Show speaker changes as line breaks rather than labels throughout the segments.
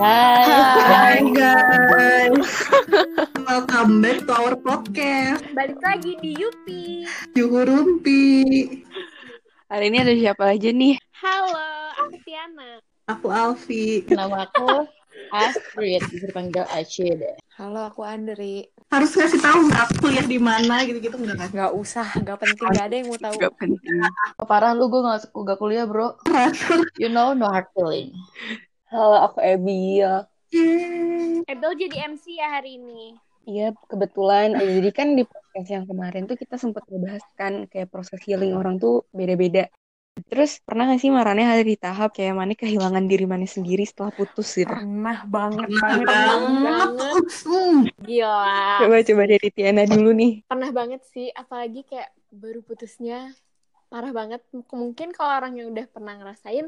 Hai.
Hai guys, welcome back to our podcast
Balik lagi di Yupi.
Yuhu Rumpi.
Hari ini ada siapa aja nih?
Halo, aku Tiana.
Aku Alfi.
Nama aku Astrid, bisa dipanggil Aci deh.
Halo, aku Andri.
Harus ngasih tahu nggak aku kuliah di mana gitu-gitu nggak kan?
Gak usah, gak penting, gak ada yang mau tahu.
Gak penting.
Oh, parah lu gue gak, gak kuliah bro. You know no hard feeling.
Halo, aku Ebiel.
Yeay.
Ebel Eh, jadi MC ya hari ini.
Iya, kebetulan. Eh, Jadi kan di podcast yang kemarin tuh kita sempat ngebahas kan kayak proses healing orang tuh beda-beda. Terus pernah gak sih marahnya ada di tahap kayak mana kehilangan diri mana sendiri setelah putus gitu?
Pernah banget,
Kenapa?
Iya.
banget, banget.
Hmm.
Ah.
Gila.
Coba-coba dari Tiana dulu nih.
Pernah banget sih, apalagi kayak baru putusnya parah banget. M- Mungkin kalau orang yang udah pernah ngerasain,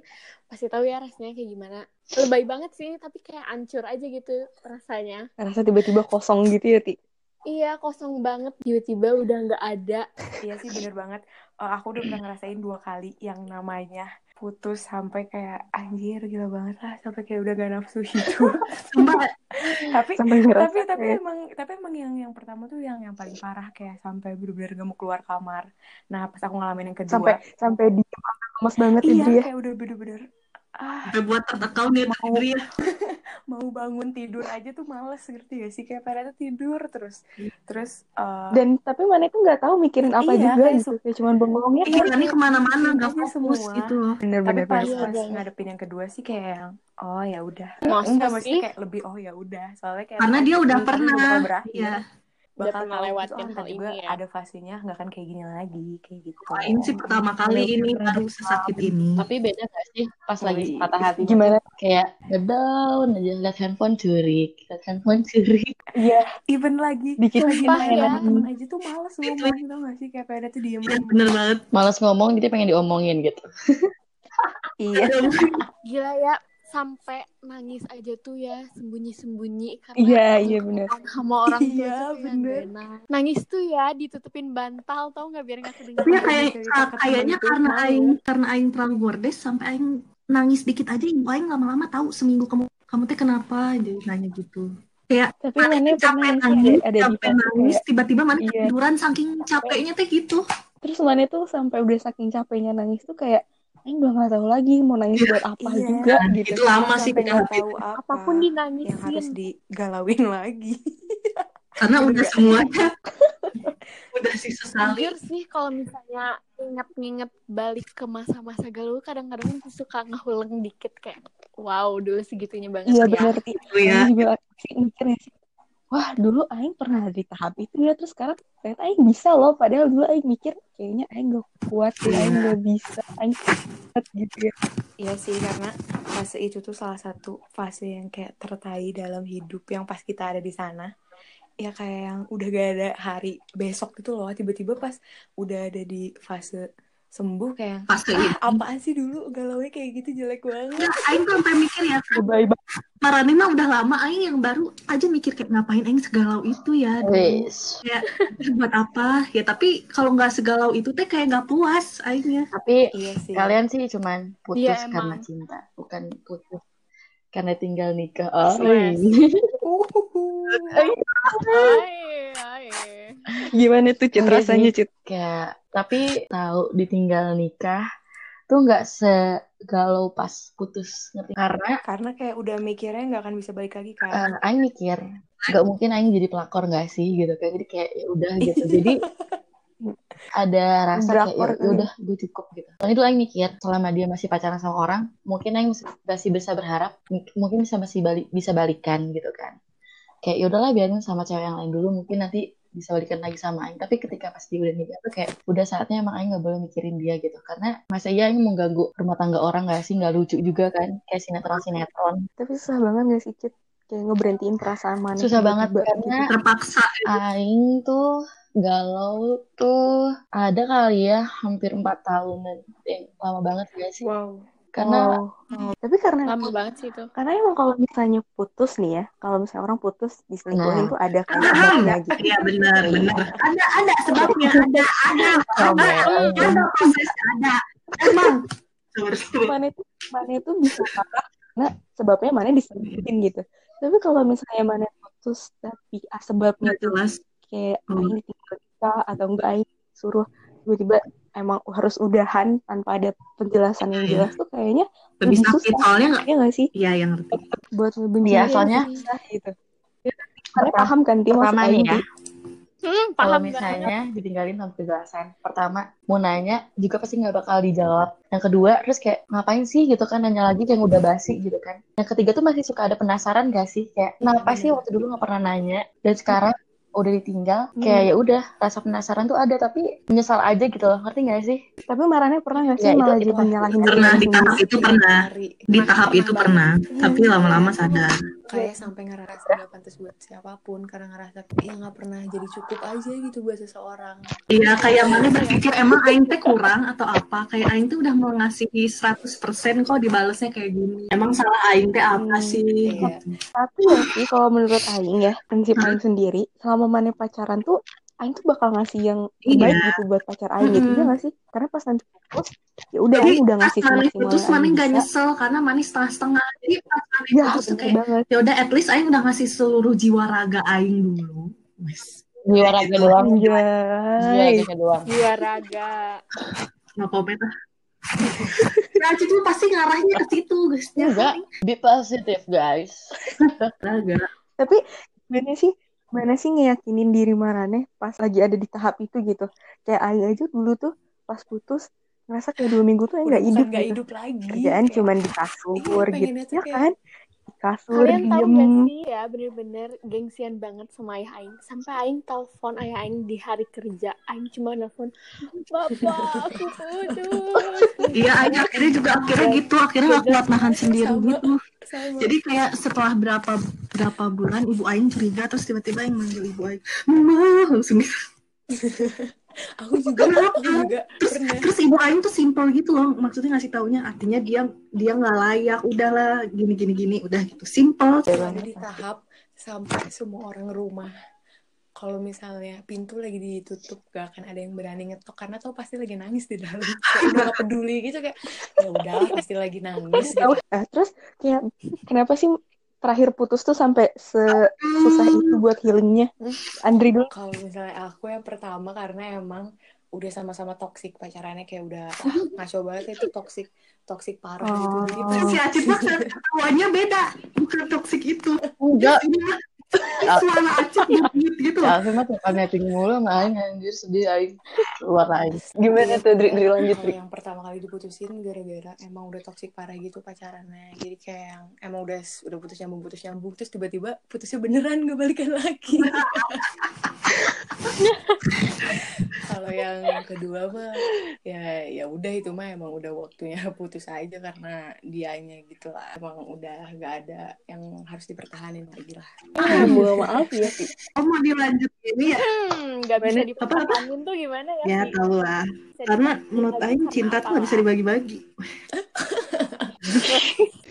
pasti tahu ya rasanya kayak gimana. Lebay banget sih, tapi kayak ancur aja gitu rasanya.
Rasa tiba-tiba kosong gitu ya, Ti?
Iya, kosong banget. Tiba-tiba udah nggak ada.
Iya sih bener banget. Eh, aku udah pernah ngerasain dua kali yang namanya putus sampai kayak anjir gila banget lah sampai kayak udah gak nafsu hidup.
Sumpah,
tapi
Sampai ngerasa
tapi tapi
kayak-
emang tapi emang yang yang pertama tuh yang yang paling parah kayak sampai bener-bener gak mau keluar kamar. Nah pas aku ngalamin yang kedua,
sampai sampai diem sampai lemes banget
iya
gitu ya.
kayak udah bener-bener ah
sampai buat tertekau nih Eh, sendiri.
mau bangun tidur aja tuh males ngerti gak sih kayak pada tidur terus
Iya.
terus eh,
Dan tapi mana tuh nggak tahu mikirin apa
Iya,
juga
kayak
gitu. Kayak cuman bengongnya
Iya, ini kemana-mana nggak
Iya,
fokus
semua.
gitu loh.
tapi
Bener-bener.
pas,
Iya,
pas
banget.
ngadepin yang kedua sih kayak yang oh ya udah
Masa
enggak
sih?
maksudnya kayak lebih oh ya udah soalnya kayak
Karena dia udah
ini
pernah.
bakal berakhir
Iya.
Udah
bakal
pernah
tahu
lewatin
gitu, oh,
hal
nanti gue
ini ya.
ada fasenya nggak akan kayak gini lagi kayak gitu
Lain sih pertama kali ini baru sesakit ini.
Tapi beda gak sih pas lagi
Wih,
patah hati?
Gimana?
Kayak ngedown aja, liat handphone curi. Liat handphone curi.
Iya.
even lagi
Dikit
lagi
Sumpah
main
ya.
sama temen aja tuh males ngomong gitu gak sih kayak pada tuh diem
Iya, bener banget.
Males ngomong jadi pengen diomongin gitu.
Iya.
Gila ya, sampai nangis aja tuh ya, sembunyi-sembunyi. Karena
Iya, iya bener.
sama orang tua
Iya,
tuh kayak
bener.
nggak enak. Nangis tuh ya, ditutupin bantal tau nggak biar nggak
Tapi ya
Iya,
kedengeran.
kayak
Cerita
ah,
ketemu
kayaknya
gitu,
itu
karena
malu.
aing karena aing terlalu bordes sampai aing nangis dikit aja ibu aing lama-lama tahu seminggu kamu kamu teh kenapa jadi nanya gitu.
Tapi
Mana
mana
capek
pernah nggak sih
nangis,
ada, ada di
capek
fase
nangis,
kayak-
tiba-tiba mana
Iya.
ketiduran saking capeknya teh gitu.
terus mana tuh sampai udah saking capeknya nangis tuh kayak ini udah nggak tahu lagi mau nangis buat apa
Iya.
juga gitu.
Itu lama sih
sampai nggak
kenapa.
tahu apa
Apapun
yang harus
dinangisin.
digalauin lagi
karena
Iya.
udah semuanya udah sih sesali.
Jujur sih kalau misalnya inget-inget balik ke masa-masa galau kadang-kadang tuh suka ngehuleng dikit kayak wow dulu segitunya banget
Iya
ya.
bener Ti.
Gitu ya.
Aing juga sih mikir ya sih. Wah dulu Aing pernah di tahap itu ya terus sekarang ternyata Aing bisa loh padahal dulu Aing mikir kayaknya Aing gak kuat,
Iya.
Aing gak bisa, Aing kuat gitu ya.
Iya sih karena fase itu tuh salah satu fase yang kayak tertai dalam hidup yang pas kita ada di sana ya kayak yang udah gak ada hari besok gitu loh tiba-tiba pas udah ada di fase sembuh kayak yang,
Pas kayak
ah apaan sih dulu galaunya kayak gitu jelek banget
Enggak, Aing tuh sampai mikir ya,
Lebay banget.
Marani mah udah lama, Aing yang baru aja mikir kayak ngapain Aing segalau itu
Iya.
ya. dulu.
Wis.
Buat apa? Ya tapi kalau nggak segalau itu teh kayak nggak puas Aingnya.
Tapi
iya sih
kalian sih cuman putus
Iya,
karena
emang.
cinta. Bukan putus karena tinggal nikah.
Iya.
Oh,
Yes.
Uhuhu.
Hai, hai.
Gimana tuh Cit
Iya
rasanya
sih.
Cit?
kayak tapi tahu ditinggal nikah tuh nggak segalau pas putus ngerti karena
karena kayak udah mikirnya nggak akan bisa balik lagi kan
eh, Aing mikir nggak mungkin Aing jadi pelakor nggak sih gitu kan jadi kayak ya udah gitu jadi ada rasa
Drakor eh.
kayak ya udah gue cukup gitu soalnya itu Aing mikir selama dia masih pacaran sama orang mungkin Aing masih- masih bisa berharap m- mungkin bisa masih balik bisa balikan gitu kan kayak ya udahlah biarin sama cewek yang lain dulu mungkin nanti bisa balikan lagi sama Aing tapi ketika pas dia udah nikah tuh kayak udah saatnya emang Aing nggak boleh mikirin dia gitu karena masa iya Aing mau ganggu rumah tangga orang nggak sih nggak lucu juga kan kayak sinetron sinetron
Tapi susah banget gak sih Cit? Kayak ngeberhentiin perasaan gitu mana
susah banget
Nah, tiba-tiba.
karena
Terpaksa.
Aing tuh galau tuh ada kali ya hampir empat tahunan Eh, lama banget gak sih
wow
karena
Oh. Tapi karena
Lama banget sih itu.
Karena emang kalau misalnya putus nih ya, kalau misalnya orang putus
Nah.
diselingkuhin tuh ada kan
Ada,
sebabnya gitu.
iya benar, benar. Ada, ada sebabnya, ada, ada, ada, ada proses, ada. Emang. Terus
Mana itu, mana itu bisa parah karena sebabnya mana disebutin gitu tapi kalau misalnya mana putus tapi ah, sebabnya
nggak
itu
jelas
kayak
Hmm.
Aing ditinggal kita atau enggak Aing suruh tiba-tiba emang harus udahan tanpa ada penjelasan yang
Iya.
jelas tuh kayaknya
lebih
lebih
sakit
susah.
soalnya nggak
ya nggak sih
iya yang ngerti
buat ngebenci
Iya,
Eh,
dia
soalnya- Iya,
lebih susah gitu karena
Pertama-
paham kan Ti maksud
pertama nih
Aing
ya
Ti?
Hmm, paham
kalau
banget.
misalnya ditinggalin tanpa penjelasan pertama mau nanya juga pasti nggak bakal dijawab yang kedua terus kayak ngapain sih gitu kan nanya lagi kayak udah basi gitu kan yang ketiga tuh masih suka ada penasaran gak sih kayak kenapa sih waktu dulu nggak pernah nanya dan sekarang udah ditinggal kayak ya udah rasa penasaran tuh ada tapi menyesal aja gitu loh ngerti gak sih
tapi marahnya pernah nggak sih
Ya, itu-
malah
itu
jadi
pasti.
nyalahin diri
pernah di
sendiri
tahap itu pernah di tahap itu pernah tapi lama-lama sadar
kayak sampai ngerasa nggak pantas buat siapapun karena ngerasa ya nggak pernah jadi cukup aja gitu buat seseorang
Iya, kayak mana berpikir emang Aing teh kurang atau apa? Kayak Aing teh udah mau ngasih 100% kok dibalesnya kayak gini. Emang salah Aing teh apa
Hmm,
sih?
iya.
tapi ya sih kalau menurut Aing ya prinsip
Hmm.
Aing sendiri selama mana pacaran tuh Aing tuh bakal ngasih yang terbaik
Iya.
gitu buat pacar Aing gitu ya
Mm-mm.
nggak sih karena pas nanti putus ya udah
Jadi
Aing udah
pas
ngasih
manis
semaksimal
putus
yang
manis
Aing
gak
bisa
nyesel karena manis setengah-setengah. Jadi pas manis
ya
putus tuh
bener
kayak
banget
ya udah at least Aing udah ngasih seluruh jiwa raga Aing dulu. Wes.
jiwa raga doang
Iya.
jiwa
Iya,
anjay
raga doang
Jiwa raga.
Nggak komen lah. Nah, itu pasti ngarahnya ke situ, guys. Ya,
enggak be positive guys
raga.
tapi gimana sih gimana sih ngeyakinin diri Marane pas lagi ada di tahap itu gitu kayak Aing aja dulu tuh pas putus ngerasa kayak dua minggu tuh Aing
udah
nggak
bukan
hidup
nggak
gitu
hidup lagi
kerjaan
Kayak-
cuman di
iya
kasur gitu
pengennya tuh
ya
kayak
kan di kasur
Kalian tahu
iya,
diem
gak sih ya bener-bener gengsian banget sama ayah Aing. Sampai Aing telepon ayah Aing di hari kerja. Aing cuma nelfon, Bapak aku putus.
Iya, Aing akhirnya juga akhirnya gitu, akhirnya nggak kuat nahan sendiri
Sama.
gitu.
sama
Jadi kayak setelah berapa berapa bulan ibu Aing curiga terus tiba-tiba Aing manggil ibu Aing, mama langsung gitu.
aku juga aku juga pernah
Terus ibu Aing tuh simple gitu loh, maksudnya ngasih taunya artinya dia dia nggak layak, udahlah gini gini gini, udah gitu simple.
ada di tahap sampai semua orang rumah kalau misalnya pintu lagi ditutup gak akan ada yang berani ngetok karena tau pasti lagi nangis di dalam kayak udah gak peduli gitu kayak ya udah pasti lagi nangis gitu
Eh, terus kayak kenapa sih terakhir putus tuh sampai se- susah
Hmm.
itu buat healingnya Andri dulu
kalau misalnya aku yang pertama karena emang udah sama-sama toksik pacarannya kayak udah ah, ngaco banget itu toksik toksik parah gitu jadi
Terus si Acit mah ketawanya beda, bukan toksik itu.
enggak
Ini Suara Acit berbuat gitu loh.
ya Alvin mah tukang netting mulu sama Aing anjir sedih Aing keluar Aing
Iya,
gimana tuh Dri, Dri lanjut
kalau
Dri
yang pertama kali diputusin gara-gara emang udah toksik parah gitu pacarannya jadi kayak yang emang udah udah putus nyambung putus nyambung terus tiba-tiba putusnya beneran gak balikan lagi kalau yang kedua mah ya ya udah itu mah emang udah waktunya putus aja karena dianya gitu lah emang udah gak ada yang harus dipertahanin lagi lah
ah, gua maaf ya Ti.
Oh mau dilanjut ini ya?
Hmm, gak bisa
Gimana? Apa, apa?
dipertahankan tuh gimana ya?
Ya
Ki?
tau lah.
Bisa
Karena
dipertahankan
menurut
lagi
Aing
karena
cinta tuh nggak bisa
apalah.
dibagi-bagi.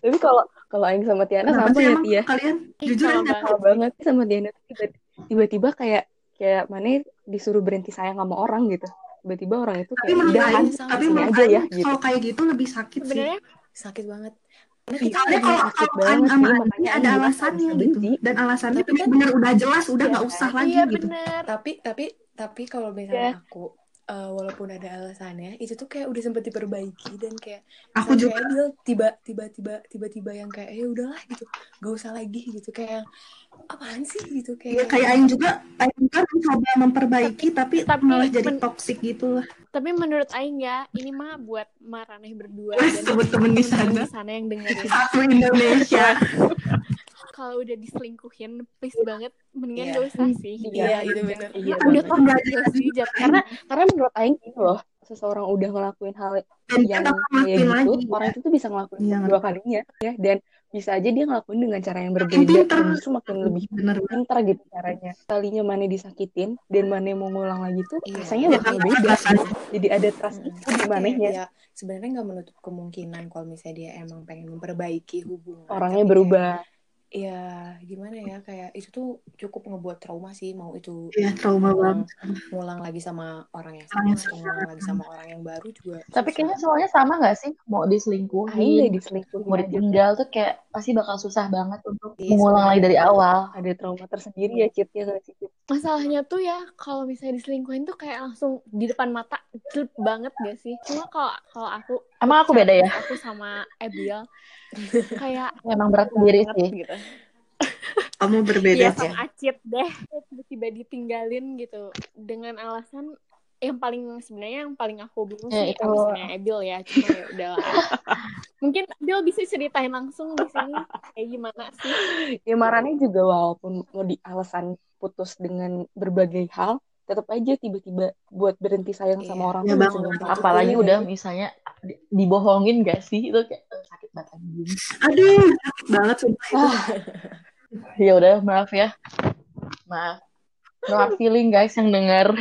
tapi kalau kalau Aing sama Tiana
Kenapa
sama
sih
ya
emang
Ti ya
kalian
Ih,
jujur
sama
Aing nggak tahu.
sama banget sih sama Diana tuh tiba- tiba-tiba kayak kayak mana ya, disuruh berhenti sayang sama orang gitu tiba-tiba orang itu
Tapi
kayak kan.
menurut
udahan
Aing,
Iya, sama,
tapi
sini
menurut
aja
Aing
ya gitu
kalau kayak gitu lebih sakit sih.
Sebenarnya
sakit banget karena kita
Soalnya
nggak
kalau iya,
bisa
sakit
kalau Aing
banget
sama
sih
Aing
makanya
ada
Aing bilang nggak
alasannya
bisa
gitu.
benci
Dan alasannya
tapi kan
benar udah jelas, udah
Iya
nggak
kan?
usah lagi
iya
gitu.
bener.
tapi tapi tapi kalau misalnya aku eh, walaupun ada alasannya itu tuh kayak udah sempet diperbaiki dan kayak
Aku
misalnya
juga
kayak dia tiba tiba tiba tiba tiba yang kayak ya udahlah gitu gak usah lagi gitu kayak apaan sih gitu
ya
kayak
Iya,
kayak Aing juga Aing kan coba memperbaiki tapi
Tapi
malah jadi
men-
toksik gitu lah.
tapi menurut Aing ya, ini mah buat Maraneh berdua
Wes,
dan
temen-temen di
teman-teman
sana
di sana yang dengerin.
satu Indonesia.
Iya.
Kalau udah diselingkuhin, please banget mendingan
Iya.
gak usah sih gitu.
iya itu bener
iya
Karena udah
banget
toksik gak sih jat
karena karena menurut Aing gitu loh seseorang udah ngelakuin hal
Dan dia
yang
bakal
kayak
ngelakuin
gitu
lagi.
orang itu tuh bisa ngelakuin
Iya,
dua kalinya ya dan bisa aja dia ngelakuin dengan cara yang
makin
berbeda
pinter.
dan justru makin lebih
Bener banget.
pintar gitu caranya kalinya mana disakitin dan mana mau ngulang lagi tuh
Iya.
rasanya
Ya
bakal
karena
beda
alasannya
gitu jadi ada trust
Mm-mm.
issue di
Kayak
manehnya
ya sebenarnya nggak menutup kemungkinan kalau misalnya dia emang pengen memperbaiki hubungan tapi
orangnya
kayak
berubah
ya gimana ya kayak itu tuh cukup ngebuat trauma sih mau itu
Iya, trauma
ngulang,
banget.
ngulang lagi sama orang yang
Orang
sama
yang
atau ngulang lagi sama orang yang baru juga
Tapi
susah.
kayaknya semuanya sama nggak sih? Mau
Aing udah
diselingkuhin,
diselingkuhin
mau
aja.
ditinggal tuh kayak pasti bakal susah banget untuk
Iya,
mengulang lagi
sebenarnya.
dari awal.
Ada trauma tersendiri ya, Cip. Ya nggak sih, Cip?
Masalahnya tuh ya kalau misalnya diselingkuhin tuh kayak langsung di depan mata jelek banget gak sih? Cuma kalau kalau aku
Emang aku beda ya?
aku sama Abiel kayak
Emang berat sendiri
banget
sih.
gitu.
Kamu berbeda.
Iya sama Acit deh tiba-tiba ditinggalin gitu dengan alasan yang paling sebenarnya yang paling aku bingung
Ya,
sih
itu-
alasannya Abil ya cuma ya udah mungkin Abil bisa ceritain langsung di sini kayak gimana sih
Ya Marane juga walaupun mau di alasan putus dengan berbagai hal, tetap aja tiba-tiba buat berhenti sayang
Iya.
sama orang
Iya,
tuh
Bang.
bisa gampang.
Apalagi
Iya,
udah
iya.
misalnya di- dibohongin gak sih? Itu kayak eh, sakit banget anjing.
Aduh, sakit banget sumpah itu.
Ya udah, maaf ya. Maaf. No hard feeling guys yang dengar.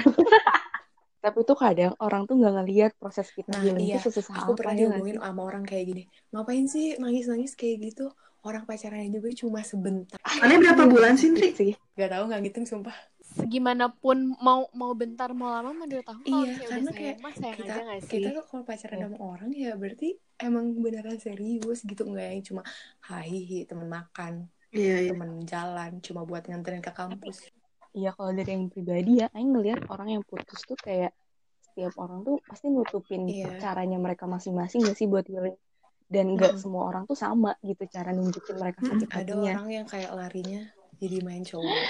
Tapi tuh kadang orang tuh nggak ngelihat proses kita
Nah,
healing
iya.
tuh sesusah
aku
apa
pernah
ya nggak sih?
dihubungin sama orang kayak gini ngapain sih nangis-nangis kayak gitu orang pacarannya juga cuma sebentar
Soalnya berapa
Iya.
bulan sih, Tri?
Sih.
gak tahu nggak ngitung sumpah
segimanapun mau mau bentar mau lama menurut aku
Iya,
kalau misalnya
karena
udah sayang
kayak
mah sayang
kita
aja gak sih
kita tuh kalau pacaran sama orang ya berarti emang beneran serius gitu nggak yang cuma hahihi temen makan
Iya, iya.
temen jalan cuma buat nganterin ke kampus
Iya kalau dari yang pribadi ya, Aing ngelihat orang yang putus tuh kayak setiap orang tuh pasti nutupin
Iya.
caranya mereka masing-masing gak sih buat healing. Dan nggak
Mm-mm.
semua orang tuh sama gitu cara nunjukin mereka
Mm-mm.
sakit
ada
hatinya.
orang yang kayak larinya jadi main cowok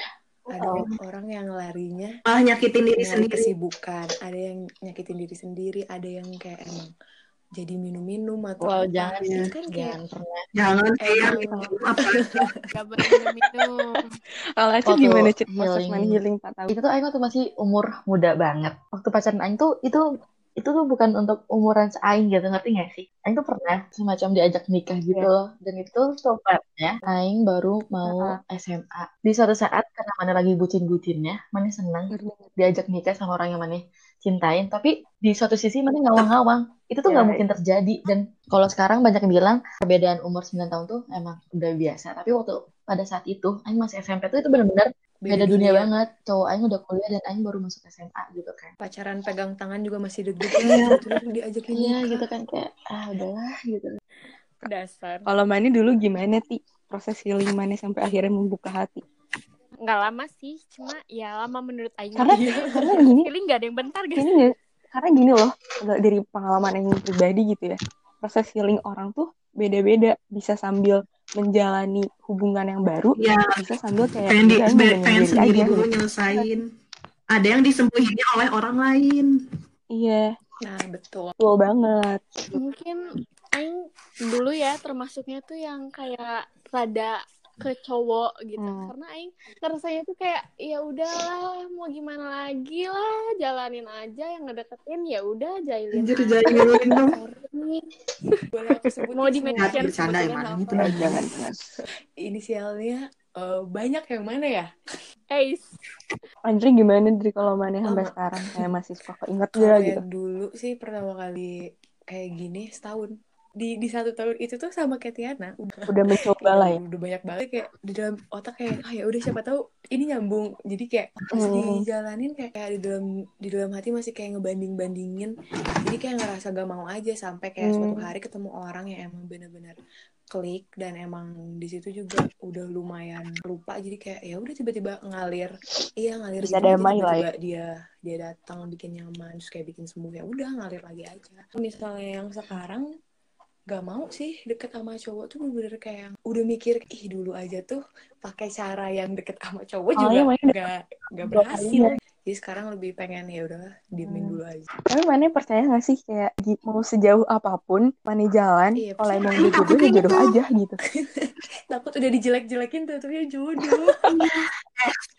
ada
Oh.
orang yang larinya
Malah nyakitin diri
Iya,
nyari
sendiri.
kesibukan ada yang nyakitin diri sendiri ada yang kayak emang jadi minum-minum atau
Wow,
apa
jangan ya.
Iya.
itu kan kayak
jangan pernah.
Jangan
Iya,
kayak
emang
gak boleh minum-minum
Kalau Acit
Waktu
gimana Cit proses
healing-
mana healing 4 tahun?
Itu tuh Aing waktu masih umur muda banget. Waktu pacaran Aing tuh itu itu tuh bukan untuk umuran se Aing gitu ngerti gak sih? Aing tuh pernah semacam diajak nikah gitu
Iya.
loh. Dan itu tempatnya Aing baru mau SMA. Di suatu saat karena mana lagi bucin-bucinnya, mana senang
Ngerti?
diajak nikah sama orang yang mana cintain tapi di suatu sisi mana ngawang-ngawang itu tuh
Ya,
nggak mungkin terjadi dan kalau sekarang banyak yang bilang perbedaan umur 9 tahun tuh emang udah biasa tapi waktu pada saat itu Aing masih SMP tuh itu benar-benar
beda
beda dunia
dunia
banget cowok Aing udah kuliah dan Aing baru masuk SMA gitu kan
pacaran pegang tangan juga masih deg-degan gitu, tiba-tiba diajakin
iya
nikah
gitu kan kayak ah udahlah gitu
dasar
Kalau Mani dulu gimana Ti? Proses healing Mani sampai akhirnya membuka hati?
nggak lama sih cuma ya lama menurut Aing
Karena karena gini,
feeling gak ada yang bentar guys
gini ya, karena gini loh, kalau dari pengalaman yang pribadi gitu ya, proses healing orang tuh beda-beda, bisa sambil menjalani hubungan yang baru,
Iya,
bisa sambil kayak
pengen, di,
udah yang
be-
benerin
pengen
diri
sendiri
aja.
dulu nyelesain. Ada yang disembuhinnya oleh orang lain.
Iya,
nah betul
betul banget.
mungkin Aing dulu ya termasuknya tuh yang kayak rada ke cowok gitu
Hmm.
karena Aing rasanya tuh kayak ya udahlah mau gimana lagi lah jalanin aja yang ngedeketin ya udah jailin
Anjir,
aja
jahilin dong.
Sorry.
boleh aku sebutin
mau di
semuanya?
Nggak,
mention
bercanda
sebutin
emang. gitu. Itu
apa
Eh, jangan, jangan.
inisialnya eh, banyak yang mana ya
Eis
Andre gimana dari kalau Mani sampai
Sama.
sekarang? Kayak masih suka
Iya,
keinget gak
kalau
gitu?
yang dulu sih pertama kali kayak gini setahun di di satu tahun itu tuh sama kayak Tiana
Udah mencoba
kayak
lah ya.
udah, udah banyak banget kayak di dalam otak kayak ah ya udah siapa tahu ini nyambung jadi kayak pas
Hmm.
dijalanin kayak, kayak di dalam di dalam hati masih kayak ngebanding bandingin jadi kayak ngerasa gak mau aja sampai kayak suatu
Hmm.
hari ketemu orang yang emang bener-bener klik dan emang di situ juga udah lumayan lupa jadi kayak ya udah tiba-tiba ngalir iya ngalir gitu
Bisa
aja
damai lah ya.
tiba-tiba dia dia datang bikin nyaman terus kayak bikin sembuh ya udah ngalir lagi aja misalnya yang sekarang gak mau sih deket sama cowok tuh bener-bener kayak yang udah mikir ih dulu aja tuh pakai cara yang deket sama cowok juga
Soalnya Mani Oh, iya, udah
gak gak
dua kali ya.
berhasil jadi sekarang lebih pengen ya udahlah diemin
Hmm.
dulu aja
Tapi Mane percaya gak sih kayak gi- mau sejauh apapun Mane jalan
iya
kalau
percaya
emang
Aing
udah jodoh
takut
ya
yang
jodoh
itu.
aja gitu.
takut udah dijelek-jelekin tuh tapi jodoh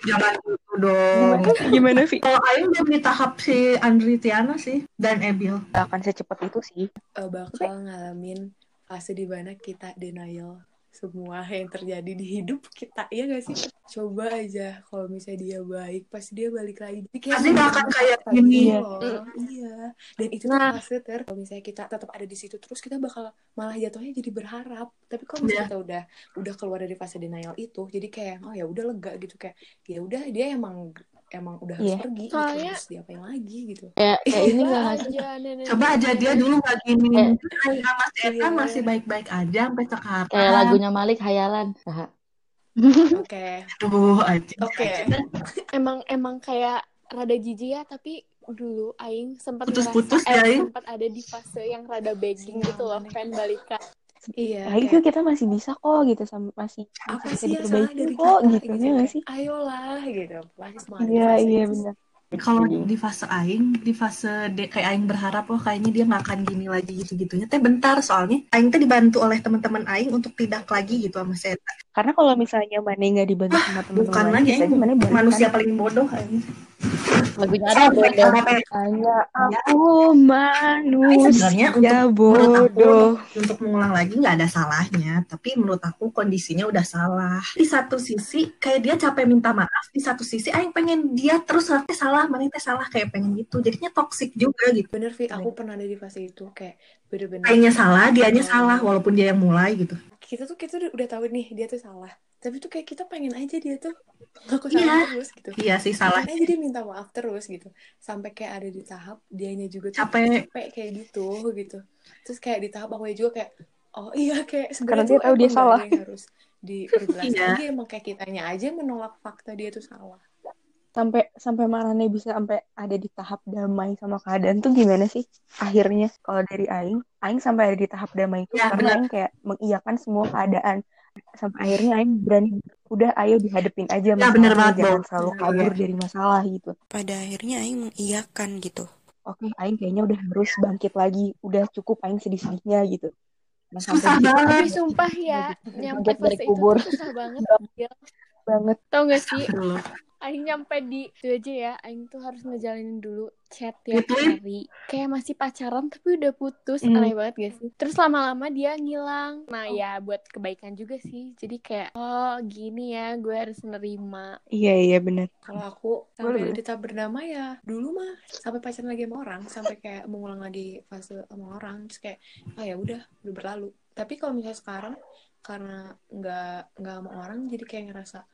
Jangan gitu dong.
Gimana sih gimana Vi?
Kalau Aing belum di tahap si Andri Tiana sih. Dan Ebil.
Gak akan secepat itu sih.
eh, bakal ngalamin fase di mana kita denial semua yang terjadi di hidup kita ya gak sih coba aja kalau misalnya dia baik pas dia balik lagi Jadi
Iya,
kayak
Pasti gak akan kayak
tadi
gini. Mm. Nah.
itu loh. iya dan itu tuh fase ter kalau misalnya kita tetap ada di situ terus kita bakal malah jatuhnya jadi berharap tapi kalau misalnya
Iya.
kita udah udah keluar dari fase denial itu jadi kayak oh ya udah lega gitu kayak ya udah dia emang emang udah harus
Iya.
pergi gitu,
Soalnya-
harus diapain lagi gitu
kayak kayak ini
Coba
gak ngasih
aja nenek.
Coba aja dia dulu gak gini.
Eh. iya.
Kayak Mas Eta masih baik-baik aja sampai sekarang.
kayak lagunya Malik Hayalan Haha.
oke
Aduh, aja.
Oke.
aja.
emang emang kayak rada jijik ya tapi dulu Aing sempat
Putus-putus
ngerasa-
ya,
eh,
Aing.
sempat ada di fase yang rada begging gitu loh pengen balikan
iya
Ya,
Nah, itu kita masih bisa kok gitu sama masih
apa
masih bisa
sih yang salah
diperbaiki
dari
kok
kita
gitu ya nggak
kayak,
sih?
ayolah gitu pasti semua ada di
Iya
fase
iya
itu.
benar.
Kalau di fase Aing, di fase de, kayak Aing berharap, oh kayaknya dia nggak akan gini lagi gitu-gitunya. Teh bentar soalnya. Aing teh dibantu oleh teman-teman Aing untuk tidak lagi gitu sama saya.
Karena kalau misalnya Mane nggak dibantu sama teman-teman
Bukan
lain,
lagi
bisa
Aing,
aja Mane balik
manusia paling bodoh Aing.
lagunya ada
Sampai
bodoh
sampai
Hanya aku manusia
sebenarnya untuk- menurut aku
bodoh.
untuk, untuk mengulang lagi nggak ada salahnya tapi menurut aku kondisinya udah salah di satu sisi kayak dia capek minta maaf di satu sisi aing pengen dia terus ngerti salah mana teh salah kayak pengen gitu jadinya toksik juga gitu
bener Vi aku pernah ada di fase itu kayak bener-bener
Aingnya salah dianya salah walaupun dia yang mulai gitu
kita tuh kita udah, udah tahu nih dia tuh salah tapi tuh kayak kita pengen aja dia tuh ngaku
Iya.
salah terus gitu
iya sih salah
pengen aja dia minta maaf terus gitu sampai kayak ada di tahap dianya juga tuh
capek
capek kayak gitu gitu terus kayak di tahap aku juga kayak oh iya kayak sebenarnya
Karena dia
tuh
tahu dia
emang nggak ada
salah.
yang harus diperjelas
Iya.
lagi emang kayak kitanya aja menolak fakta dia tuh salah
Sampai sampai Marane bisa sampai ada di tahap damai sama keadaan tuh gimana sih? Akhirnya kalau dari Aing, Aing sampai ada di tahap damai itu
Ya,
karena
benar.
Aing kayak mengiyakan semua keadaan. Sampai akhirnya Aing berani udah ayo dihadepin
ya
aja
bener
masalahnya
banget
jangan
Bo.
selalu
Bener
kabur
banget.
dari masalah gitu.
Pada akhirnya Aing mengiyakan gitu.
Oke, Aing kayaknya udah harus bangkit lagi. Udah cukup Aing sedih-sedihnya gitu. Nah, sampai
susah
di situ
banget
Aing
tapi sumpah ya nyampe
Bangkit dari
fase itu
kubur.
tuh susah banget Gil.
banget
tau gak sih
Astagfirullah.
Aing nyampe di itu aja ya Aing tuh harus ngejalanin dulu chat tiap
Gituin.
hari kayak masih pacaran tapi udah putus
Hmm.
aneh banget gak sih terus lama-lama dia ngilang nah ya buat kebaikan juga sih jadi kayak oh gini ya gue harus nerima
Iya iya benar.
kalau aku sampai ada di tahap bernama ya dulu mah sampai pacaran lagi sama orang sampai kayak mengulang lagi fase sama orang terus kayak ah ya udah udah berlalu tapi kalau misalnya sekarang karena nggak nggak sama orang jadi kayak ngerasa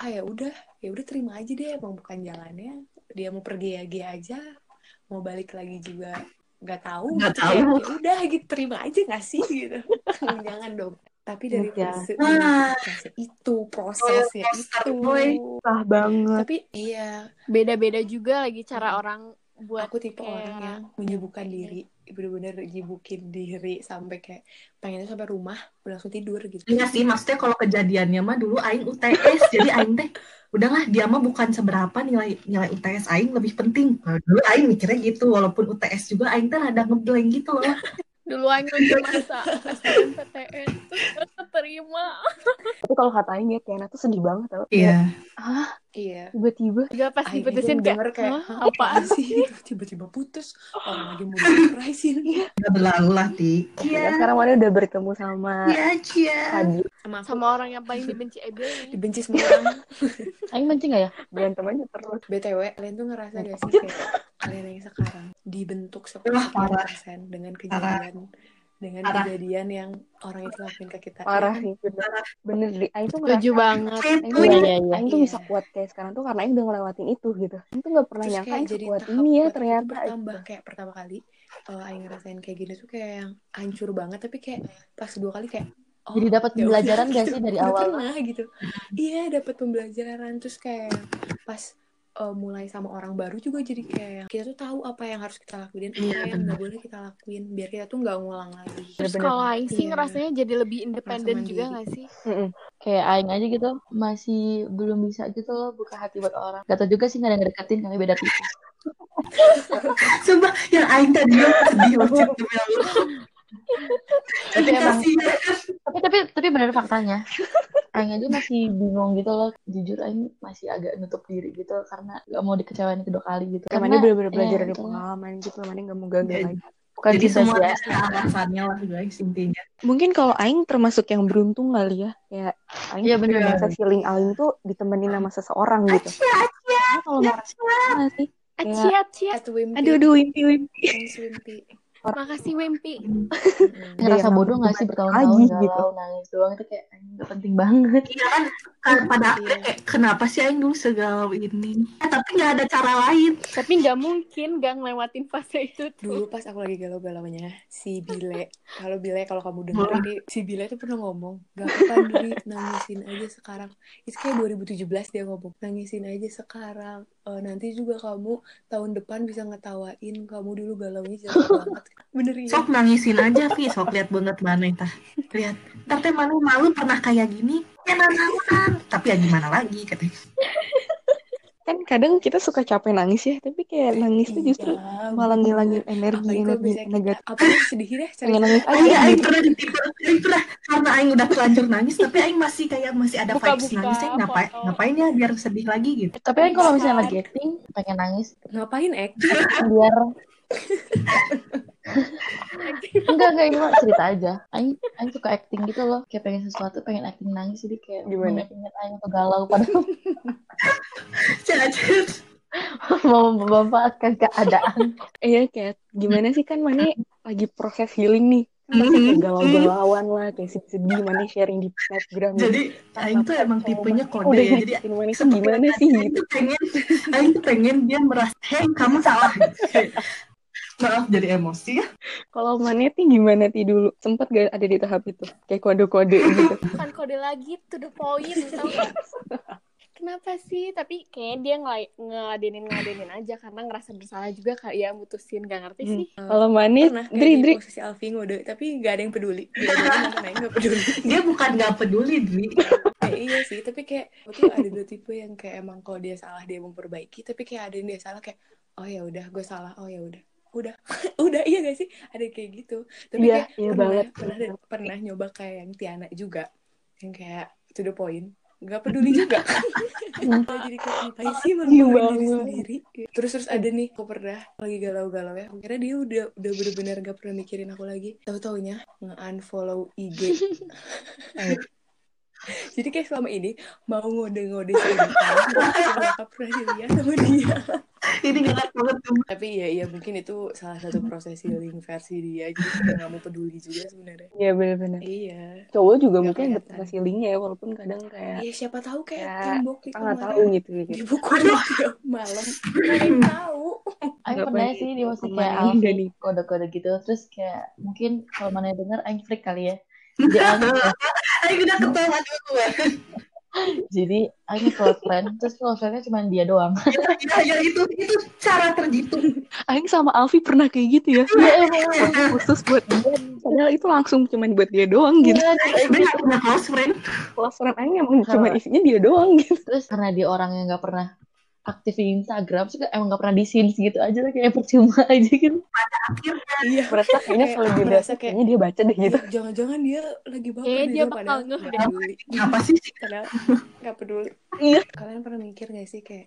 ah ya udah ya udah terima aja deh emang bukan jalannya dia mau pergi ya dia aja mau balik lagi juga nggak tahu
Nggak
gitu
tahu.
kayak ya udah gitu terima aja nggak sih gitu jangan dong tapi dari
Jangan.
fase
Wah.
fase itu prosesnya
Monster
itu
boy.
Susah banget.
tapi iya
beda-beda juga lagi cara orang buat
aku tipe
kayak-
orang yang menyibukkan diri bener-bener nyibukin diri sampai kayak pengennya sampai rumah udah langsung tidur gitu
Iya sih, maksudnya kalau kejadiannya mah dulu Aing UTS, jadi Aing teh udahlah dia mah bukan seberapa nilai nilai UTS Aing lebih penting. Nah, dulu Aing mikirnya gitu, walaupun UTS juga Aing teh rada ngeblank gitu loh.
dulu Aing lagi masa SBMPTN terus gak keterima
Tapi kalau kata Aing ya Tiana tuh sedih banget tau. Kayak,
Iya.
ah
iya
tiba-tiba
juga pas
akhirnya
diputusin kayak
denger kayak
"Hah,
"Hah,
apaan
apaan sih gitu tiba-tiba putus orang lagi mau disurprisein
Udah berlalu lah, Ti.
ya kan
Iya,
sekarang Mane udah bertemu sama
iya, iya.
Hadi
sama aku
sama orang yang paling dibenci Ebil ini
dibenci semua orang
Aing benci gak ya
berantem aja terus.
BTW, kalian tuh ngerasa gak sih kayak kalian yang sekarang dibentuk se-
Wah,
sekian
parah.
persen dengan
Parah.
kejadian dengan
Parah.
kejadian yang orang itu lakuin ke kita.
Parah
Iya kan?
sih bener. Bener deh. Aing tuh ngerasa
setuju banget
Aing tuh
iya
ngerasa
iya iya
Aing tuh
Iya.
bisa kuat kayak sekarang tuh karena Aing udah ngelewatin itu gitu. Aing tuh gak pernah
Terus
nyangka
kayak
Aing
jadi
sekuat
tahap
ini ya
kuat aku tuh
ternyata
bertambah
gitu.
kayak pertama kali eh, Aing ngerasain kayak gini tuh kayak yang hancur banget tapi kayak pas dua kali kayak oh
jadi dapat
ya udah
pembelajaran gak
gitu
sih dari
udah
awal mah
pernah gitu iya dapat pembelajaran terus kayak pas eh, mulai sama orang baru juga jadi kayak kita tuh tahu apa yang harus kita lakuin dan
Iya,
apa yang nggak boleh kita lakuin biar kita tuh nggak ngulang lagi
Terus
Bener-bener.
kalau Aing sih
Iya.
ngerasanya jadi lebih independen
Merasa
juga
mandiri.
gak sih?
Mm-mm.
kayak Aing aja gitu masih belum bisa gitu loh buka hati buat orang gak tau juga sih gak ada yang deketin kami beda tipis
Sumpah, yang Ya, Aing tadi yang sedih banget. demi Allah. Tapi
tapi emang
kasihan.
tapi tapi tapi bener faktanya Aing aja masih bingung gitu loh jujur Aing masih agak nutup diri gitu karena gak mau dikecewain kedua kali gitu
Kayak
karena
Mane bener-bener
ya
belajar dari
itulah
pengalaman gitu. Mane gak mau gagal
Iya.
lagi.
bukan
Jadi
cinta
semua ada
biasa
alasannya lah guys intinya.
Mungkin kalau Aing termasuk yang beruntung kali ya. Kayak Aing
Iya, bener.
biasa feeling Aing tuh ditemenin sama seseorang gitu.
Aci, aci,
Karena kalau marah sama sih.
Iya. Eh,
Kayak,
Ciat, ciat.
At Wimpi.
aduh, aduh, impi, impi.
Thanks, Wimpi. Makasih Wimpi.
ngerasa
Yang
bodoh gak
aku
sih bertahun-tahun
lagi
galau
gitu.
nangis doang itu kayak anjing, gak penting banget
Iya kan, kan pada eh, kenapa sih Aing dulu segalau ini? Eh, tapi nggak ada cara lain.
Tapi nggak mungkin gak ngelewatin fase itu tuh.
Dulu pas aku lagi galau-galaunya si Bile. Kalau Bile kalau kamu denger ini si Bile tuh pernah ngomong, "Gak apa-apa Dri, nangisin aja sekarang." Itu kayak 2017 dia ngomong, "Nangisin aja sekarang. Eh, nanti juga kamu tahun depan bisa ngetawain kamu dulu galaunya jelek banget." Bener ya?
Sok nangisin aja, Vi. Sok lihat banget mana tah. Lihat. Tapi malu malu pernah kayak gini. Ya nanaan. Tapi ya gimana lagi katanya.
Kan kadang kita suka capek nangis ya. Tapi kayak nangis
Iya.
tuh justru malah ngilangin energi,
Apalagi kalau
energi
misalnya kita,
negatif.
apalagi sedih deh cari
Pengen nangis aja
Aing, Aing
gitu.
pernah ditipu. Aing pernah karena Aing udah terlanjur nangis, tapi Aing masih kayak masih ada vibes
Buka-buka
nangisnya. Ngapain,
foto.
ngapain ya biar sedih lagi gitu.
tapi kan kalau misalnya
Besar.
lagi acting pengen nangis
ngapain ek?
biar enggak enggak ini mah cerita aja Aing Aing suka acting gitu loh kayak pengen sesuatu pengen acting nangis jadi kayak
Gimana?
mengingat Aing atau galau padahal
Cacat.
mau memanfaatkan keadaan
Iya kayak gimana sih kan Mane lagi proses healing nih. Kan pasti kayak
Mhm.
galau-galauan lah. Kayak sedih-jadi Mane sharing di Instagram gitu.
Jadi Aing tuh emang tipenya kode
udah
ya. Jadi
nyakitin Mane tuh
semakin
gimana sih
Aing
gitu.
tuh pengen, Aing tuh pengen dia merasa, hei kamu salah. Maaf jadi emosi ya.
Kalau Mane tuh gimana sih dulu? Sempet gak ada di tahap itu? Kayak kode-kode gitu.
Bukan kode lagi, to the point. Tau nggak? Kenapa sih? Tapi kayaknya dia ngelai- ngeladenin ngeladenin aja karena ngerasa bersalah juga kali ya mutusin gak ngerti
Hmm.
sih.
Kalau Mane,
pernah kayak gitu.
Dri,
di
Dri.
posisi Alfi ngode tapi nggak ada yang peduli dia doang yang naik nggak peduli
Dia bukan nggak peduli, Dwi.
Eh, iya sih tapi kayak waktu itu ada dua tipe yang kayak emang kalau dia salah dia memperbaiki tapi kayak ada yang dia salah kayak oh ya udah gue salah oh ya udah udah udah iya gak sih ada kayak gitu tapi
Iya,
kayak
iya
pernah
banget.
pernah pernah nyoba kayak yang Tiana juga yang kayak to the point nggak peduli juga Gue jadi kayak ngapain sih merendahkan diri
Hmm. Iya banget.
sendiri terus terus ada nih aku pernah lagi galau-galau ya kira dia udah udah bener-bener gak pernah mikirin aku lagi tahu taunya nge-unfollow IG
Eh,
jadi kayak selama ini mau ngode-ngode sedikan tapi cuma gak pernah dilihat sama dia
Ini gelap banget tuh.
tapi ya ya mungkin itu salah satu proses healing versi dia jadi kayak gak mau peduli juga sebenarnya
Iya bener-bener.
iya
Cowok juga
Nggak
mungkin ada
kelihatan.
proses healingnya ya. Walaupun kadang kayak...
ya siapa tahu kayak
Ya,
tembok di
kita nggak
kamarnya
tahu gitu. gitu.
dibukulin tiap malam nggak ada yang tahu
Aing
Nggak
pernah
pernah
sih di
tahu
musik
sama
kayak
Mane udah
Alfi
nih.
kode-kode gitu terus kayak mungkin kalau mana denger Aing freak kali ya jadi Aing
Aing udah ketawa juga gue.
jadi Aing close friend terus close friendnya cuma dia doang
Ya, ya itu itu cara terjitu.
Aing sama Alfi pernah kayak gitu ya.
iya emang
Podcast khusus buat dia. Padahal itu langsung cuman buat dia doang gitu.
iya terus
Aing
Aing
nggak punya close friend.
Kalau friend Aing emang
Kalau-
cuman isinya dia doang gitu.
terus karena dia orang yang nggak pernah aktif di Instagram suka emang nggak pernah di scenes gitu aja lah kayak percuma aja gitu
iya
Merasa kayaknya
Kayak
kalau dia
merasa
baca,
kayak-
kayaknya dia baca deh gitu.
Ya, jangan-jangan dia lagi baper
Kayaknya
di
dia
luar,
bakal
padahal
ngeh
nggak
deh.
peduli.
Apa sih?
Padahal nggak peduli.
Iya.
Kalian pernah mikir nggak sih kayak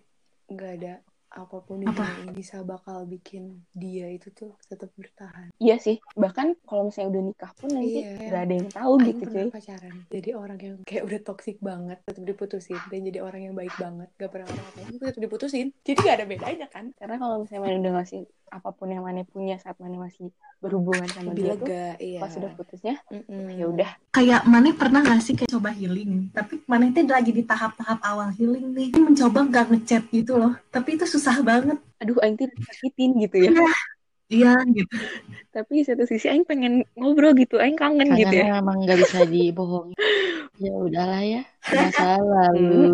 nggak ada apapun di
Apa?
dunia ini bisa bakal bikin dia itu tuh tetap bertahan.
Iya sih. Bahkan kalau misalnya udah nikah pun nanti
Iya.
nggak ada yang tahu
Aing
gitu
pernah
cuy.
pacaran jadi orang yang kayak udah toksik banget tetap diputusin dan jadi orang yang baik banget gak pernah orang apa tapi tetap diputusin jadi gak ada bedanya kan
Karena kalau misalnya Mane udah ngasih apapun yang Mane punya saat Mane masih berhubungan sama
lebih
dia tuh.
lega iya
Pas udah putusnya,
Mm-mm.
ya udah.
Kayak Mane pernah nggak sih kayak coba healing? Tapi Mane itu lagi di tahap-tahap awal healing nih. Ini mencoba nggak ngechat gitu loh. Tapi itu susah banget.
Aduh, Aing tuh sakitin gitu ya.
Iya. Iya gitu.
Tapi di satu sisi Aing pengen ngobrol gitu. Aing kangen gitu ya.
kangennya memang nggak bisa dibohongi ya udahlah ya masa
Hmm,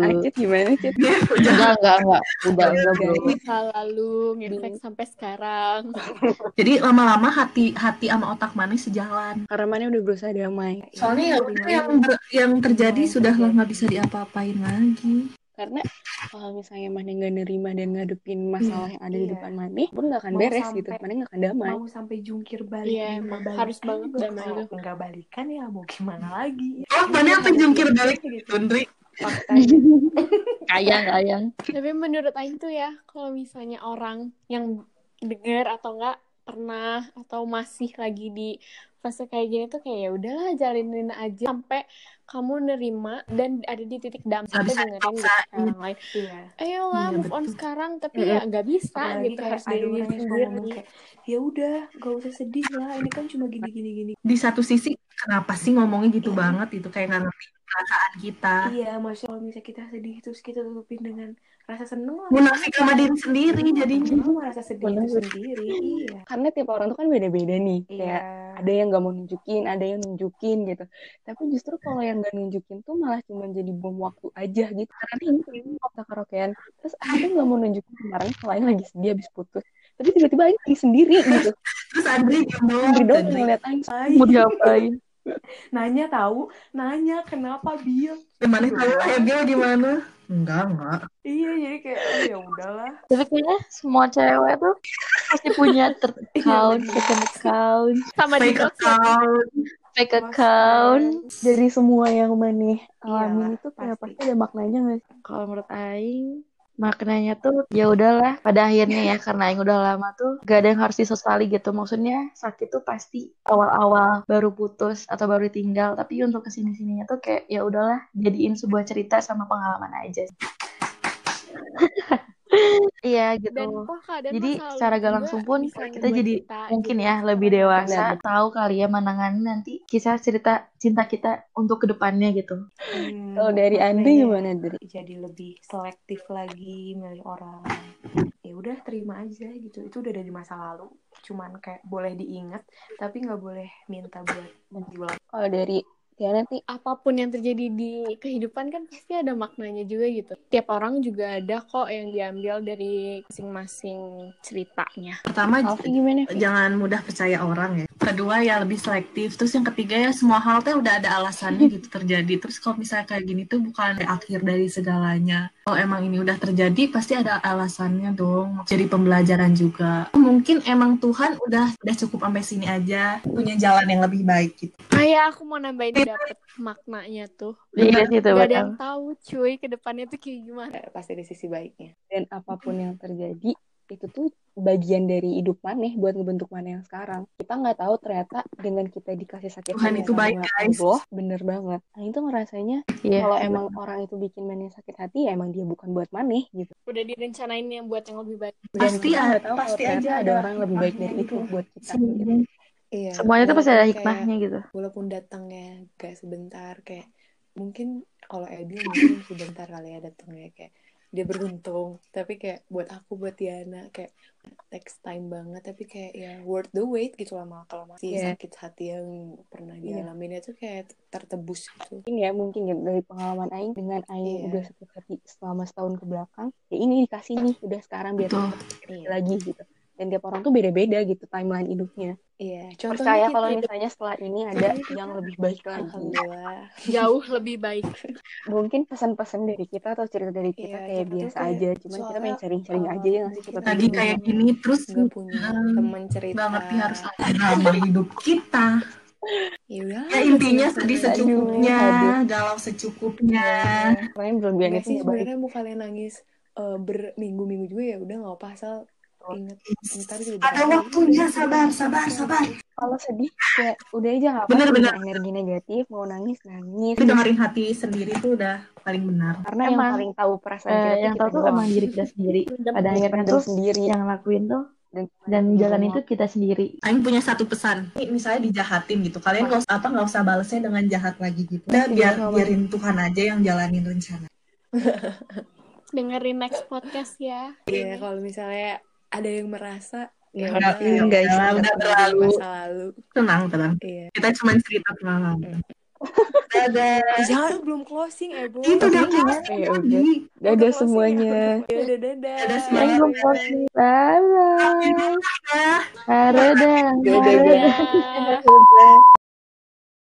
lalu
Acit gimana,
Iya,
Acit?
enggak enggak enggak udah enggak bro
Guys,
Masa lalu ngefek sampai sekarang.
Jadi lama-lama hati hati sama otak Mane sejalan.
karena Mane udah berusaha damai.
Soalnya ya udah
terimain
yang ber- yang terjadi
yang
sudah lah
terjadi.
nggak bisa diapa-apain lagi.
karena kalau misalnya Mane nggak nerima dan ngadepin masalah yang ada di
Iya.
depan Mane pun nggak akan
Mau
beres gitu
sampai-
Mane nggak akan damai
mau sampai jungkir balik
Iya,
juga
emang
balikan
harus banget
juga
damai
kalau
tuh.
nggak balikan ya mau gimana lagi
Oh,
Ini
Mane
yang
apa
harus
jungkir
dilakukan
balik
gitu
gitu, Ndri?
faktanya
kayang kayang
Tapi menurut Aing tuh ya, kalau misalnya orang yang denger atau enggak
pernah atau masih lagi di fase kayak gini tuh kayak ya udahlah jalinin aja sampai kamu nerima dan ada di titik dam sampai
bisa
dengerin gitu
dipaksa.
kayak orang lain
Iya.
ayolah
Iya,
move on
betul.
sekarang tapi ya nggak bisa
Apalagi
gitu
kayak
harus
ada
dari diri
orang yang suka ngomong
sendiri
kayak ya udah gak usah sedih lah ini kan cuma gini gini gini
di satu sisi kenapa sih ngomongnya gitu
Iya.
banget itu kayak nggak ngerti perasaan kita
iya maksudnya kalau misalnya kita sedih terus kita tutupin dengan rasa seneng lah
munafik sama diri sendiri jadinya
jadi merasa sedih itu
Bener.
sendiri iya
karena tiap orang tuh kan beda-beda nih
iya
kayak ada yang nggak mau nunjukin ada yang nunjukin gitu tapi justru kalau yang nggak nunjukin tuh malah cuma jadi bom waktu aja gitu karena nih ini waktu karaokean terus aku tuh nggak mau nunjukin kemarin selain lagi sedih habis putus tapi tiba-tiba aja lagi sendiri gitu
terus Andri diem doang
sendiri doang yang
Andri
ngeliat Aing
Ay,
mau diapain
nanya tahu nanya kenapa Bill
gimana
Iya.
tahu ya, kayak dia gimana enggak enggak
iya jadi kayak oh ya udahlah
Tapi kayaknya semua cewek tuh pasti punya third account,
bener.
second account,
sama di
fake
blog ya
account
fake
Lost
account.
friends.
dari semua yang maneh
Iyalah,
alamin itu kayak
pasti.
pasti ada maknanya nggak sih
Iya, Kalau menurut Aing, maknanya tuh ya udahlah. Pada akhirnya ya, karena Aing udah lama tuh gak ada yang harus disesali gitu. Maksudnya sakit tuh pasti awal-awal baru putus atau baru ditinggal. Tapi untuk kesini-sininya tuh kayak ya udahlah jadiin sebuah cerita sama pengalaman aja. Iya
dan
gitu.
toh kadang
Jadi
masa lalu
secara
itu
gak
juga
langsung pun
bisa
kita
ngebuat
jadi
kita gitu kan,
mungkin
jadi
ya lebih
orang yang
dewasa,
lebih
Iya benar
tahu kali ya menangani nanti kisah cerita cinta kita untuk kedepannya gitu.
Hmm,
kalau dari Andi
maknanya
gimana dari
jadi lebih selektif lagi milih orang ya udah terima aja gitu itu udah dari masa lalu cuman kayak boleh diingat tapi nggak boleh minta buat
Hmm.
diulang
kalau dari Tiana nih
apapun yang terjadi di kehidupan kan pasti ada maknanya juga gitu. Tiap orang juga ada kok yang diambil dari masing-masing ceritanya.
pertama
Alfi gimana Fi?
jangan mudah percaya orang ya kedua ya lebih selektif terus yang ketiga ya semua hal tuh udah ada alasannya gitu terjadi terus kalau misalnya kayak gini tuh bukan akhir dari segalanya kalau emang ini udah terjadi pasti ada alasannya dong jadi pembelajaran juga mungkin emang Tuhan udah udah cukup sampai sini aja punya jalan yang lebih baik gitu
Kayak aku mau nambahin dapet maknanya tuh.
Iya sih itu
Gak ada
betul.
yang tahu cuy ke depannya tuh kayak gimana.
Eh, pasti di sisi baiknya
dan apapun yang terjadi itu tuh bagian dari hidup maneh buat ngebentuk maneh yang sekarang kita nggak tahu ternyata dengan kita dikasih sakit
Tuhan
hati
itu baik,
sama
guys.
Allah bener banget nah itu ngerasanya
Iya.
kalau emang orang itu bikin maneh sakit hati ya emang dia bukan buat maneh gitu
Udah direncanain yang buat yang lebih baik.
dan
Pasti
kita
ada-
nggak tahu kalau
pasti
ternyata
aja
ada
ada
orang yang lebih baik dari
hikmahnya
itu
gitu.
buat kita gitu
Sebenarnya.
iya
Semuanya tuh pasti
walaupun
ada
kayak
hikmahnya gitu.
walaupun datangnya gak sebentar kayak mungkin kalau Ebil mungkin sebentar kali ya datangnya kayak dia beruntung tapi kayak buat aku buat Diana kayak takes time banget tapi kayak ya worth the wait gitu lama kalau masih
ya
sakit hati yang pernah
Iya.
dialamin itu kayak tertebus gitu
mungkin ya mungkin ya dari pengalaman Aing dengan Aing
iya
udah sakit hati selama setahun ke belakang ya ini dikasih nih udah sekarang biar
Betul.
iya
lagi gitu dan tiap orang tuh beda-beda gitu timeline hidupnya gitu.
iya contohnya gitu.
percaya
kita
kalau misalnya setelah ini ada
contohnya kita
yang lebih baik lagi.
Iya.
alhamdulillah
Jauh lebih baik.
Mungkin pesan-pesan dari kita atau cerita dari
Iya,
kita kayak
siapa tahu
biasa
kayak
aja, cuman kita
soalnya
pengen sharing-sharing
eh,
aja ya nggak sih
mungkin
kita
kita
tuh
lagi
juga
kayak
nggak
gini terus
nggak punya
eh,
teman
nggak
cerita.
ngerti harus ada drama hidup kita
Ya udah
ya intinya sedih
senang-senang aja.
secukupnya
aduh.
galau secukupnya
Iya.
Kalian belum biar
Enggak
itu
sih
nggak baik.
sebenarnya mau kalian nangis eh, berminggu-minggu juga ya udah nggak apa asal ingat ntar juga
ada
berlalu.
waktunya sabar sabar sabar
Kalau sedih kayak udah aja nggak apa-apa
bener-bener
dengan energi gitu. negatif, mau nangis nangis.
tapi dengerin hati sendiri tuh udah paling benar
Karena yang
Emang
paling tahu
eh,
perasaan kita tuh
yang tahu
kita
tuh emang
doang.
diri kita sendiri. Pada akhirnya
Dipendam
tuh
sendiri
yang lakuin tuh
dan gimana
dan
cara
jalan itu
ngomong.
kita sendiri.
Aing punya satu pesan Ini misalnya dijahatin gitu kalian nggak usah apa nggak usah balesnya dengan jahat lagi gitu udah
Setuju
biar
sama Mane.
biarin Tuhan aja yang jalanin rencana
Iya,
Dengerin next podcast ya.
Iya kalau misalnya ada yang merasa ya
udah
udahlah
ya
ya
iya,
udah
itu
lah, udah
udah menjadi
terlalu
masa lalu.
tenang tenang
Iya.
kita cuma cerita pengalaman dadah
Eh, jangan belum closing eh bu.
itu udah
Closingnya gimana?
closing
Ya udah.
lagi Iya,
Oh, udah
Dadah
closing ya.
semuanya.
Ya udah dadah.
Dadah
Iya,
Yang
semuanya.
belum
Bye-bye.
closing. Bye bye.
Dadah. iya.
Haredah,
Dadah.
haredah.
Dadah.
Haredah.